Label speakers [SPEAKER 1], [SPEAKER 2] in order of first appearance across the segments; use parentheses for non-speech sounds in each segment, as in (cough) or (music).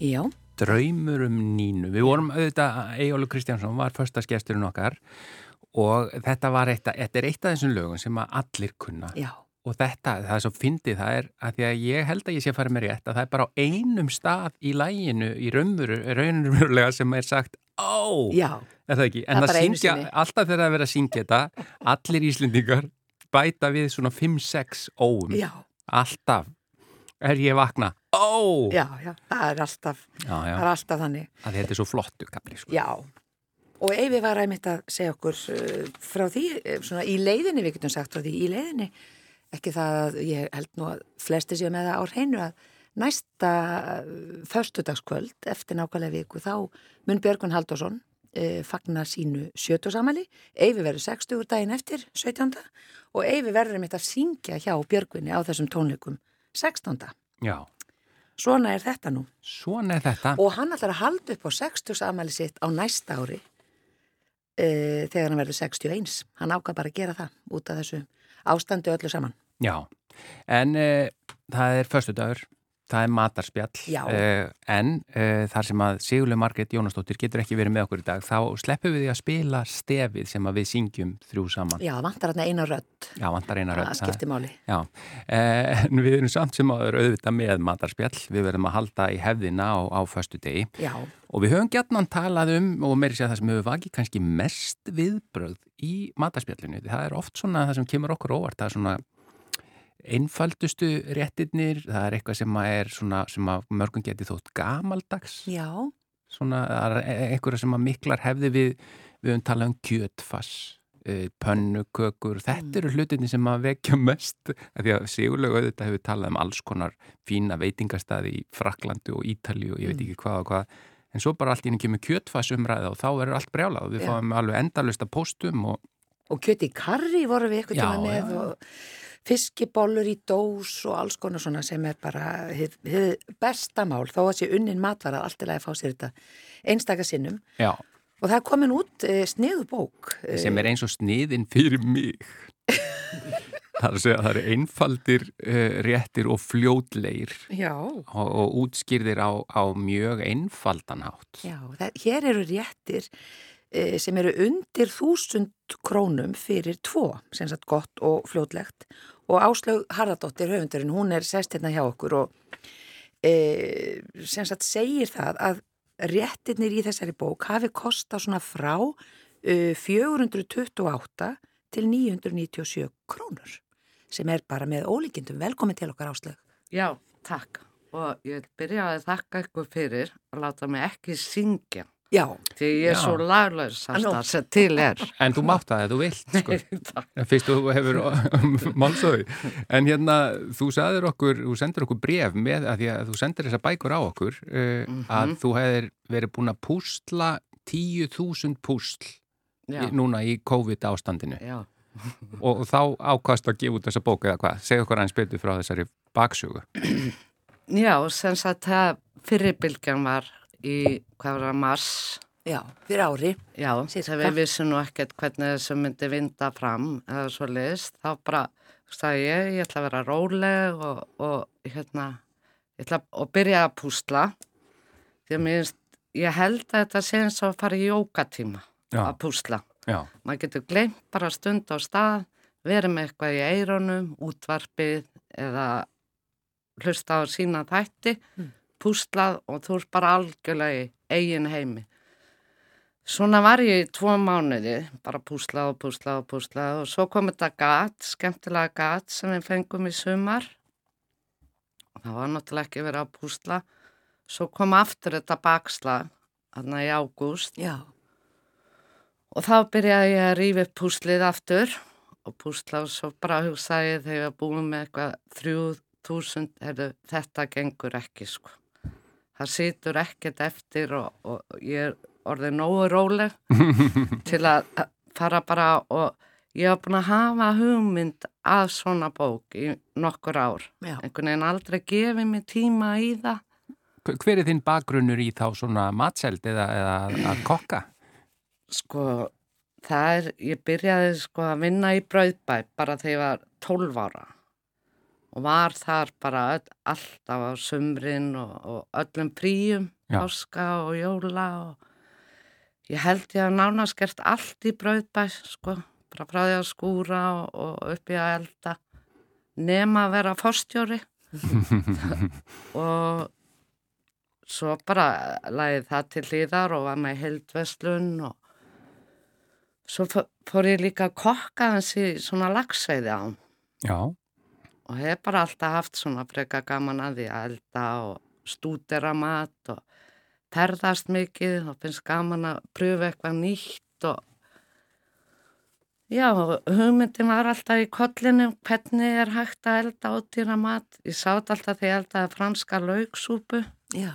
[SPEAKER 1] Já.
[SPEAKER 2] Draumur um Nínu. Við vorum auðvitað, Ejólu Kristjánsson var förstaskesturinn okkar og þetta var eitt, að- þetta er eitt af þessum lögum sem að allir kunna.
[SPEAKER 1] Já.
[SPEAKER 2] Og þetta, það er svo fyndið, það er að því að ég held að ég sé að fara með rétt að það er bara á einum stað í læginu í raunveru, raunverulega sem er sagt á,
[SPEAKER 1] Já.
[SPEAKER 2] er það ekki? En
[SPEAKER 1] Það er
[SPEAKER 2] það,
[SPEAKER 1] bara einu
[SPEAKER 2] syngja,
[SPEAKER 1] sinni.
[SPEAKER 2] alltaf þegar það er verið að syngja þetta, allir íslendingar bæta við svona 5-6 óum,
[SPEAKER 1] Já.
[SPEAKER 2] alltaf er ég vakna, ó!
[SPEAKER 1] Já, já. Það er alltaf,
[SPEAKER 2] já,
[SPEAKER 1] það
[SPEAKER 2] já.
[SPEAKER 1] er alltaf þannig.
[SPEAKER 2] að þetta er svo flottu kapli sko.
[SPEAKER 1] Já, og Eyvi var einmitt að segja okkur uh, frá því, eh, svona í leiðinni við getum sagt frá því, í leiðinni ekki það að ég held nú að flesti séu með það á hreinu að næsta förstudagskvöld eftir nákvæmlega viku þá mun Björgun Haldursson uh, fagna sínu sjötusamæli, Eyvi verður 60 daginn eftir, 17. og Eyvi verður einmitt að syngja hjá Björgunni á þessum tónleikum 16.
[SPEAKER 2] Já,
[SPEAKER 1] Svona er þetta nú.
[SPEAKER 2] svona er þetta
[SPEAKER 1] Og hann ætlar að halda upp á 60 afmæli sitt á næsta ári e, þegar hann verður 61. Hann ákvað bara að gera það út af þessu ástandi öllu saman.
[SPEAKER 2] Já, en uh, það er föstudagur, það er matarspjall
[SPEAKER 1] Já.
[SPEAKER 2] eh, en uh, þar sem að Sigurlega Margrét Jónasdóttir getur ekki verið með okkur í dag þá sleppum við því að spila stefið sem að við syngjum þrjú saman
[SPEAKER 1] Já, það vantar hann eina rödd.
[SPEAKER 2] Já, vantar einar
[SPEAKER 1] Það skiptir máli.
[SPEAKER 2] Já, eh, en við erum samt sem að auðvitað með matarspjall, við verðum að halda í hefðina á, á föstudegi
[SPEAKER 1] Já,
[SPEAKER 2] Og við höfum gætnan talað um, og meiri sér það sem hefur vakið kannski mest viðbröð í mataspjallinu. Það er oft svona það sem kemur okkur óvart, það er svona einfaldustu réttirnir, það er eitthvað sem að er svona, sem að mörgum geti þótt gamaldags,
[SPEAKER 1] já,
[SPEAKER 2] svona það er e- einhverja sem að miklar hefði við, við höfum talað um kjötfass, eh, pönnukökur,
[SPEAKER 1] Mm.
[SPEAKER 2] þetta eru hlutinni sem að vekja mest, af því að sigurlega auðvitað hefur talað um alls konar fína veitingastaði í Fraklandi og Ítalíu og ég
[SPEAKER 1] Mm.
[SPEAKER 2] veit ekki hvað og hvað, En svo bara allt í henni kemur kjötfassumræða og þá verður allt brjálað og við
[SPEAKER 1] Já.
[SPEAKER 2] fáum alveg endalust að postum og
[SPEAKER 1] og kjöti í karri voru við eitthvað
[SPEAKER 2] Já,
[SPEAKER 1] tíma með
[SPEAKER 2] já, já.
[SPEAKER 1] og fiskibólur í dós og alls konar svona sem er bara hið, hið besta mál þó að sé unnin matvara allt í lagi að fá sér þetta einstaka sinnum.
[SPEAKER 2] já,
[SPEAKER 1] Og það er komin út e, sniðubók. eh,
[SPEAKER 2] sem er eins og sniðin
[SPEAKER 1] (laughs)
[SPEAKER 2] fyrir mig. það er að segja að það eru einfaldir, uh, réttir og fljótleir
[SPEAKER 1] Já.
[SPEAKER 2] og, og útskýrðir á, á mjög einfaldan hátt.
[SPEAKER 1] Já, það, hér eru réttir eh, sem eru undir þúsund krónum fyrir tvo, sem sagt gott og fljótlegt og Áslaug Harðardóttir höfundurinn, hún er sest hérna hjá okkur og e, sem sagt segir það að réttirnir í þessari bók hafi kosta svona frá e, 428 til 997 krónur sem er bara með ólíkindum. Velkomin til okkar Áslaug.
[SPEAKER 3] Já, takk. Og ég vil byrja að þakka ykkur fyrir að láta mig ekki syngja.
[SPEAKER 1] Já,
[SPEAKER 3] Því ég er
[SPEAKER 2] Já.
[SPEAKER 3] svo laglaus
[SPEAKER 1] Nú.
[SPEAKER 3] alltaf sem til er.
[SPEAKER 2] En þú mátt það ef þú vilt,
[SPEAKER 3] (laughs)
[SPEAKER 2] sko.
[SPEAKER 3] Takk.
[SPEAKER 2] Fyrst þú hefur málsöðu. En hérna, þú sagðir okkur, þú sendir okkur bref með, að því að þú sendir þessa bækur á okkur, uh, að þú hefur verið búin að púsla 10.000 púsl í,
[SPEAKER 3] Já,
[SPEAKER 2] núna í COVID ástandinu.
[SPEAKER 3] já.
[SPEAKER 2] Og þá ákast að gefa út þessa bók eða hvað? Segð okkur aðeins betur frá þessari baksögu.
[SPEAKER 3] já sem sagt það fyrirbylgjan var í, hvað var það, mars?
[SPEAKER 1] já, fyrir ári.
[SPEAKER 3] Já,
[SPEAKER 1] Sirka.
[SPEAKER 3] það við vissum nú ekkert hvernig þessu myndi vinda fram eða svo list. Þá bara sagði ég, ég ætla að vera róleg og, og hérna, ég ætla að byrja að púsla. Því að mér, finnst- ég held að þetta sé eins og að fara í jókatíma
[SPEAKER 2] Já.
[SPEAKER 3] að púsla.
[SPEAKER 2] Já,
[SPEAKER 3] maður getur gleymt bara stund á stað, verið með eitthvað í eironum, útvarpið eða hlusta á sína þætti, mm. púslað og þú ert bara algjörlega í eigin heimi. Svona var ég í tvo mánuði, bara púslað og púslað og púslað og svo kom þetta gat, skemmtilega gat sem við fengum í sumar. Það var náttúrulega ekki verið að púsla. Svo kom aftur þetta bakslag, þarna í ágúst
[SPEAKER 1] Já,
[SPEAKER 3] Og þá byrjaði ég að rífa upp púslið aftur og púsla og svo bara hugsaði ég þegar ég var búin með eitthvað 3000, heyrðu, þetta gengur ekki sko. Það situr ekkert eftir og, og ég er orðið nógu róleg til að að fara bara og ég var búin að hafa hugmynd að svona bók í nokkur ár.
[SPEAKER 1] já.
[SPEAKER 3] Einhvern veginn aldrei gefið mér tíma í það.
[SPEAKER 2] Hver- hver er þinn bakgrunnur í þá svona matseld eða, eða að- að kokka?
[SPEAKER 3] sko, það er, ég byrjaði sko að vinna í brauðbæ bara þegar ég var 12 ára og var þar bara öll, alltaf á sumrin og, og öllum príum,
[SPEAKER 2] Já.
[SPEAKER 3] páska og jóla og ég held ég að nánast gert allt í brauðbæ, sko, bara frá því að skúra og, og upp í að elda, nema að vera fórstjóri og svo bara lagði það til hlýðar og var með heldveslun og svo fó- fór ég líka að kokka hans í svona lagsveiði á hann
[SPEAKER 2] Já,
[SPEAKER 3] og hef bara alltaf haft svona freka gaman að því að elda og stúdera mat og ferðast mikið og finnst gaman að pröfa eitthvað nýtt og já, og hugmyndin var alltaf í kollinum hvernig er hægt að elda ódýra mat. Ég sátt alltaf því að eldaði franska lauksúpu,
[SPEAKER 1] Já,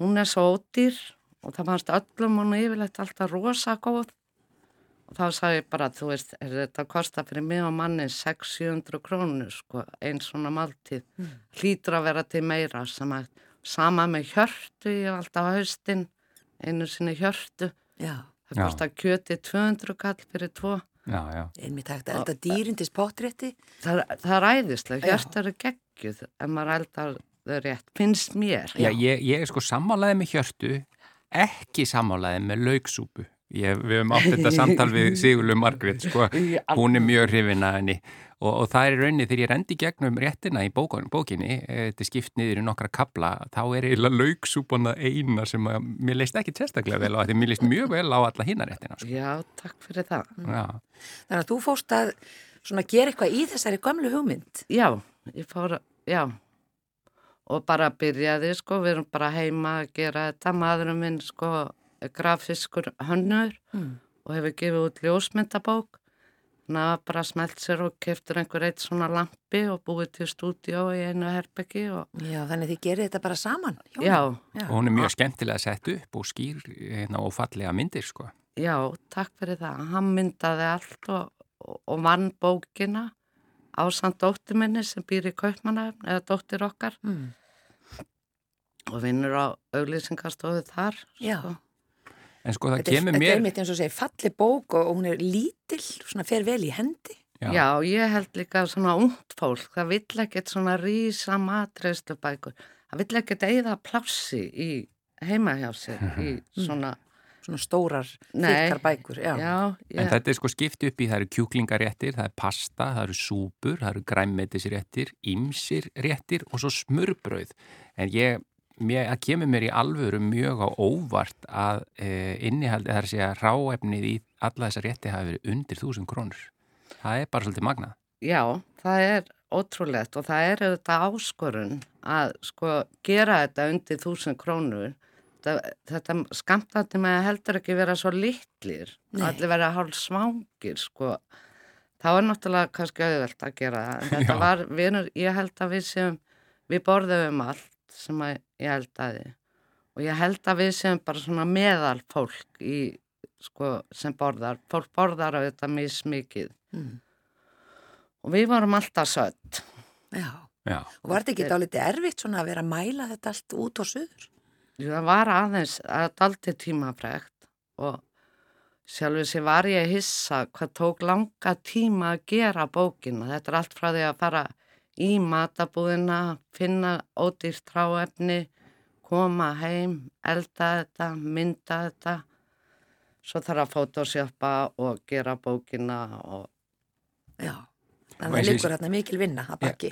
[SPEAKER 3] hún er svo ódýr og það fannst öllum hún yfirleitt alltaf rosa góð og þá sagði ég bara, þú veist, er þetta kosta fyrir mig og manni 600-700 krónu, sko, eins svona máltíð,
[SPEAKER 1] Mm.
[SPEAKER 3] hlýtur að vera til meira, sama, sama með hjörtu, ég var alltaf á haustin, einu sinni hjörtu,
[SPEAKER 1] já,
[SPEAKER 2] Já.
[SPEAKER 3] það kosta kjöti 200 kall fyrir tvo,
[SPEAKER 2] já, já.
[SPEAKER 1] einmitt hægt að elda dýrindis pottrétti
[SPEAKER 3] það, það er æðislega,
[SPEAKER 1] Já.
[SPEAKER 3] hjörtu eru geggjuð, ef maður eldar þau rétt, finnst mér.
[SPEAKER 2] Já, ég, ég er sko sammálaði með hjörtu, ekki sammálaði með lauksúpu. Ég, við höfum átt þetta samtal
[SPEAKER 1] (laughs)
[SPEAKER 2] við Sigurlu Margrét, sko. Hún er mjög hrifin að henni og, og það er í rauninni þegar ég rendi gegnum réttina í bókun, bókinni, eh, þetta er skipt niður í nokkra kabla, þá er eiginlega lauksúpana eina sem að, mér leist ekki sérstaklega vel á þetta, mér leist mjög vel á alla hinna réttina, sko.
[SPEAKER 3] Já, takk fyrir það.
[SPEAKER 1] Mm.
[SPEAKER 2] Já,
[SPEAKER 1] þannig að þú fórst að svona gera eitthvað í þessari gamlu hugmynd
[SPEAKER 3] Já, ég fór, já. Og bara byrjaði, sko, við erum bara heima að gera þetta. Maðurinn minn, sko, er grafiskur hönnur
[SPEAKER 1] Mm.
[SPEAKER 3] og hefur gefið út ljósmyndabók. Þannig að hafa bara smelt sér og keftur einhver eitt svona lampi og búið til stúdíó í einu herbyggi og
[SPEAKER 1] Já, þannig að þið gerði þetta bara saman hjónin.
[SPEAKER 3] já,
[SPEAKER 1] já,
[SPEAKER 2] og hún er
[SPEAKER 1] Ah.
[SPEAKER 2] mjög skemmtilega sett upp og skýr hérna, og fallega myndir, sko.
[SPEAKER 3] já, takk fyrir það. Hann myndaði allt og, og, og vann bókina á samt dóttir minni sem býr í Kaupmannahöfn eða dóttir okkar
[SPEAKER 1] Mm.
[SPEAKER 3] og vinnur á auglýsingarstofu þar. sko.
[SPEAKER 1] já.
[SPEAKER 2] En sko það
[SPEAKER 1] Þetta er,
[SPEAKER 2] kemur
[SPEAKER 1] þetta er
[SPEAKER 2] mér...
[SPEAKER 1] mitt eins og segir falli bók og, og hún er lítil, svona fer vel í hendi
[SPEAKER 2] Já.
[SPEAKER 3] Já. ég held líka að svona ungt fólk, það vill ekkert svona rísa matreðslubækur, það vill ekkert eigða plássi í heima hjá sér, í svona,
[SPEAKER 1] svona stórar,
[SPEAKER 3] Nei.
[SPEAKER 1] þykkar bækur já.
[SPEAKER 3] já,
[SPEAKER 2] En
[SPEAKER 3] ég,
[SPEAKER 2] þetta er sko skipt upp í, það eru kjúklingaréttir, það er pasta, það eru súpur, það eru græmmetisréttir, ymsir réttir og svo smurbröð. En ég, mér, það kemur mér í alvöru mjög á óvart að e, innihald, það er að segja ráefnið í alla þessar rétti hafi verið undir þúsund krónur. Það er bara svolítið magnað.
[SPEAKER 3] já, það er ótrúlegt og það er auðvitað áskorun að sko gera þetta undir þúsund krónur, þetta, þetta skamtandi með að heldur ekki vera svo litlir,
[SPEAKER 1] Nei.
[SPEAKER 3] allir vera hálf svangir, sko, þá er náttúrulega kannski auðvelt að gera það. En Þetta
[SPEAKER 2] Já.
[SPEAKER 3] var, við, erum- ég held að við séum, við borðum allt sem að ég held að þið. Og ég held að við séum bara svona meðal fólk í, sko, sem borðar. Fólk borðar á þetta mismikið.
[SPEAKER 1] Mm.
[SPEAKER 3] Og við vorum alltaf sött.
[SPEAKER 1] já.
[SPEAKER 2] Já.
[SPEAKER 1] og var þetta ekki dálítið erfitt svona að vera að mæla þetta allt út og suður
[SPEAKER 3] Jú, Það var aðeins, það er aldrei tímafregt og sjálfur sér var ég að hissa hvað tók langa tíma að gera bókina. Þetta er allt frá því að fara í matabúðina, finna ódýrt tráefni, koma heim, elda þetta, mynda þetta. Svo þarf að fótósjöpa og gera bókina og
[SPEAKER 1] já, þannig að
[SPEAKER 2] Og
[SPEAKER 1] það
[SPEAKER 2] eins og ég-
[SPEAKER 1] liggur þarna mikil vinna að baki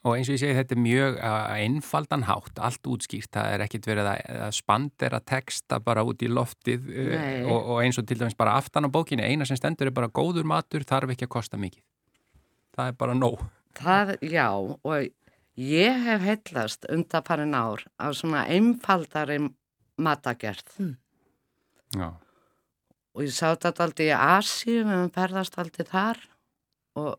[SPEAKER 2] Og eins og ég segi þetta er mjög uh, einfaldan hátt, allt útskýrt, það er ekkit verið að, að spandera texta bara út í loftið
[SPEAKER 3] Nei.
[SPEAKER 2] uh, og, og eins og til dæmis bara aftan á bókinni, eina sem stendur er bara góður matur, þarf ekki að kosta mikið. Það er bara nóg.
[SPEAKER 3] Það, já, og ég hef heillast undarfarin ár af svona einfaldari matagerð.
[SPEAKER 2] Já,
[SPEAKER 3] og ég sá þetta aldrei í Asíu, við höfum ferðast aldrei þar og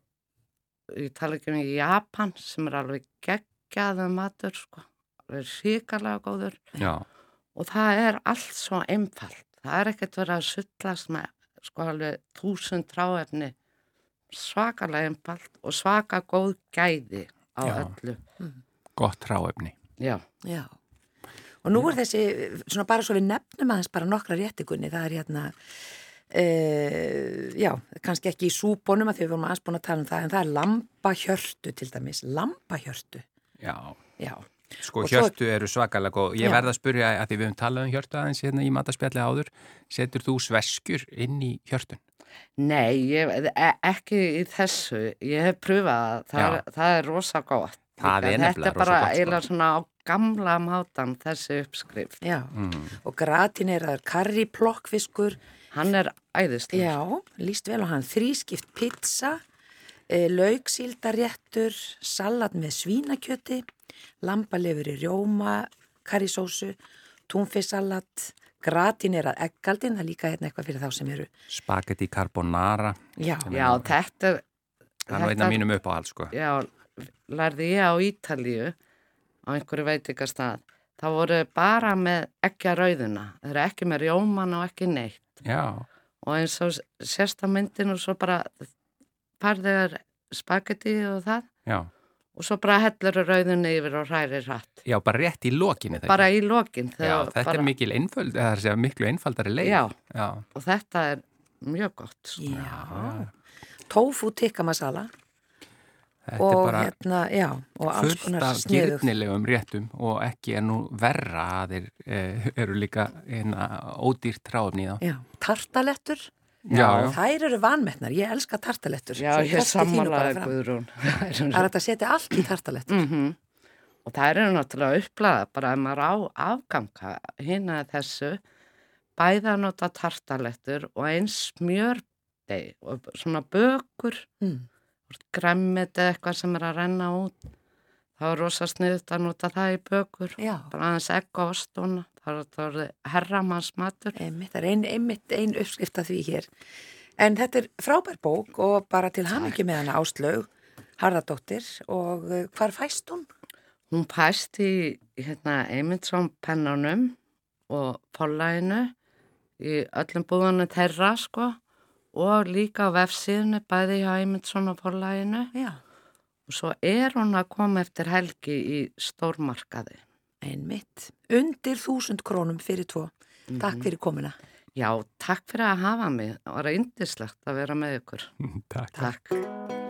[SPEAKER 3] ég tala ekki um í Japan sem er alveg geggjaðum matur sko, alveg síkarlega góður
[SPEAKER 2] já,
[SPEAKER 3] og það er allt svo einfalt, það er ekkert verið að sullast með sko alveg þúsund tráefni svakalega einfalt og svaka góð gæði á
[SPEAKER 2] Já.
[SPEAKER 3] öllu
[SPEAKER 2] gott ráefni.
[SPEAKER 3] já,
[SPEAKER 1] Já. Og nú er þessi, svona bara svo við nefnum aðeins bara nokkra réttikunni, það er hérna Uh, já, kannski ekki í súbónum að því við vorum aðeins búin að tala um það en það er lambahjörtu til dæmis, lambahjörtu
[SPEAKER 2] Já,
[SPEAKER 1] já,
[SPEAKER 2] sko
[SPEAKER 1] Og svo-
[SPEAKER 2] hjörtu eru svakalega góð. Ég
[SPEAKER 1] Já.
[SPEAKER 2] verð að spyrja að því við höfum talað um hjörtu aðeins hérna í mataspjalli áður. Setur þú sveskjur inn í hjörtun?
[SPEAKER 3] Nei, ég, e- ekki í þessu. Ég hef pröfað það. Það,
[SPEAKER 2] Já.
[SPEAKER 3] er- það er rosa gott.
[SPEAKER 2] Það er
[SPEAKER 3] Þetta
[SPEAKER 2] nefnilega
[SPEAKER 3] er
[SPEAKER 2] rosa
[SPEAKER 3] bara
[SPEAKER 2] gott, sko.
[SPEAKER 3] eiginlega svona á gamla mátan þessi uppskrift.
[SPEAKER 1] já.
[SPEAKER 2] Mm.
[SPEAKER 1] og gratineraður karri, plokkfiskur
[SPEAKER 3] Hann er æðislega.
[SPEAKER 1] já, líst vel á hann þrískipt pizza uh, lauksíldaréttur salat með svínakjöti lambalefur í rjóma karrisósu, túnfissalat gratinerað eggaldin það er líka hérna eitthvað fyrir þá sem eru
[SPEAKER 2] Spagetti carbonara.
[SPEAKER 1] já,
[SPEAKER 3] Já, þetta er...
[SPEAKER 2] Það er nú einn af mínum uppáhald, sko.
[SPEAKER 3] Já, lærði ég á Ítalíu á einhverju veitingastað. Það voru bara með ekki að rauðina. Það eru ekki með rjóman og ekki neitt.
[SPEAKER 2] Já,
[SPEAKER 3] Og eins og s- sérst á myndinu svo bara farðið spagetti og það
[SPEAKER 2] já.
[SPEAKER 3] og svo bara hellur rauðinu yfir og hrærir hratt.
[SPEAKER 2] Já, bara rétt í lokinu þetta.
[SPEAKER 3] Bara í lokin.
[SPEAKER 2] Já,
[SPEAKER 3] þegar
[SPEAKER 2] þetta
[SPEAKER 3] bara,
[SPEAKER 2] er mikil einföld, eða það er að segja miklu einfaldari leið.
[SPEAKER 3] Já,
[SPEAKER 2] Já,
[SPEAKER 3] og þetta er mjög gott. sko.
[SPEAKER 1] já. tofu tikka masala
[SPEAKER 2] þetta
[SPEAKER 1] og
[SPEAKER 2] er bara
[SPEAKER 1] hérna, já, og alls
[SPEAKER 2] fullt
[SPEAKER 1] konar
[SPEAKER 2] af
[SPEAKER 1] sniðugt.
[SPEAKER 2] gyrnilegum réttum og ekki er nú verra að þeir eh, eru líka hérna, ódýrt tráfni í þá.
[SPEAKER 1] Já, tartalettur,
[SPEAKER 2] Já, já.
[SPEAKER 1] þær eru vanmetnar, ég elska tartalettur.
[SPEAKER 3] Já,
[SPEAKER 1] Svo
[SPEAKER 3] ég
[SPEAKER 1] kastið þínu bara
[SPEAKER 3] sammálaði
[SPEAKER 1] fram. (laughs)
[SPEAKER 3] Guðrún.
[SPEAKER 1] Það er hægt að setja allt í tartalettur.
[SPEAKER 3] mm og það eru náttúrulega upplæða bara ef maður á afganga hinn að þessu bæða að nota tartalettur og eins smjördei og svona bökur
[SPEAKER 1] Mm.
[SPEAKER 3] græmmit eða eitthvað sem er að renna út þá er rosa sniðut að nota það í bökur
[SPEAKER 1] Já,
[SPEAKER 3] bara aðeins egg og ostuna það er það orðið herramannsmatur
[SPEAKER 1] einmitt, það er ein, einmitt ein uppskrift að því hér. En þetta er frábær bók og bara til hamingju með hana áslög, Harðardóttir, og eh, hvar fæst hún?
[SPEAKER 3] hún pæst í hérna Eymundsson pennanum og forlæginu í öllum búðanum þeirra sko og líka á vefsíðinu bæði hjá Eymundsson og forlæginu
[SPEAKER 1] Já,
[SPEAKER 3] og svo er hún að koma eftir helgi í stórmarkaði.
[SPEAKER 1] einmitt. Undir þúsund krónum fyrir tvo. Takk fyrir komuna.
[SPEAKER 3] Já, takk fyrir að hafa mig. Það var reyndislegt að vera með ykkur.
[SPEAKER 2] (laughs) Takk.
[SPEAKER 3] Takk.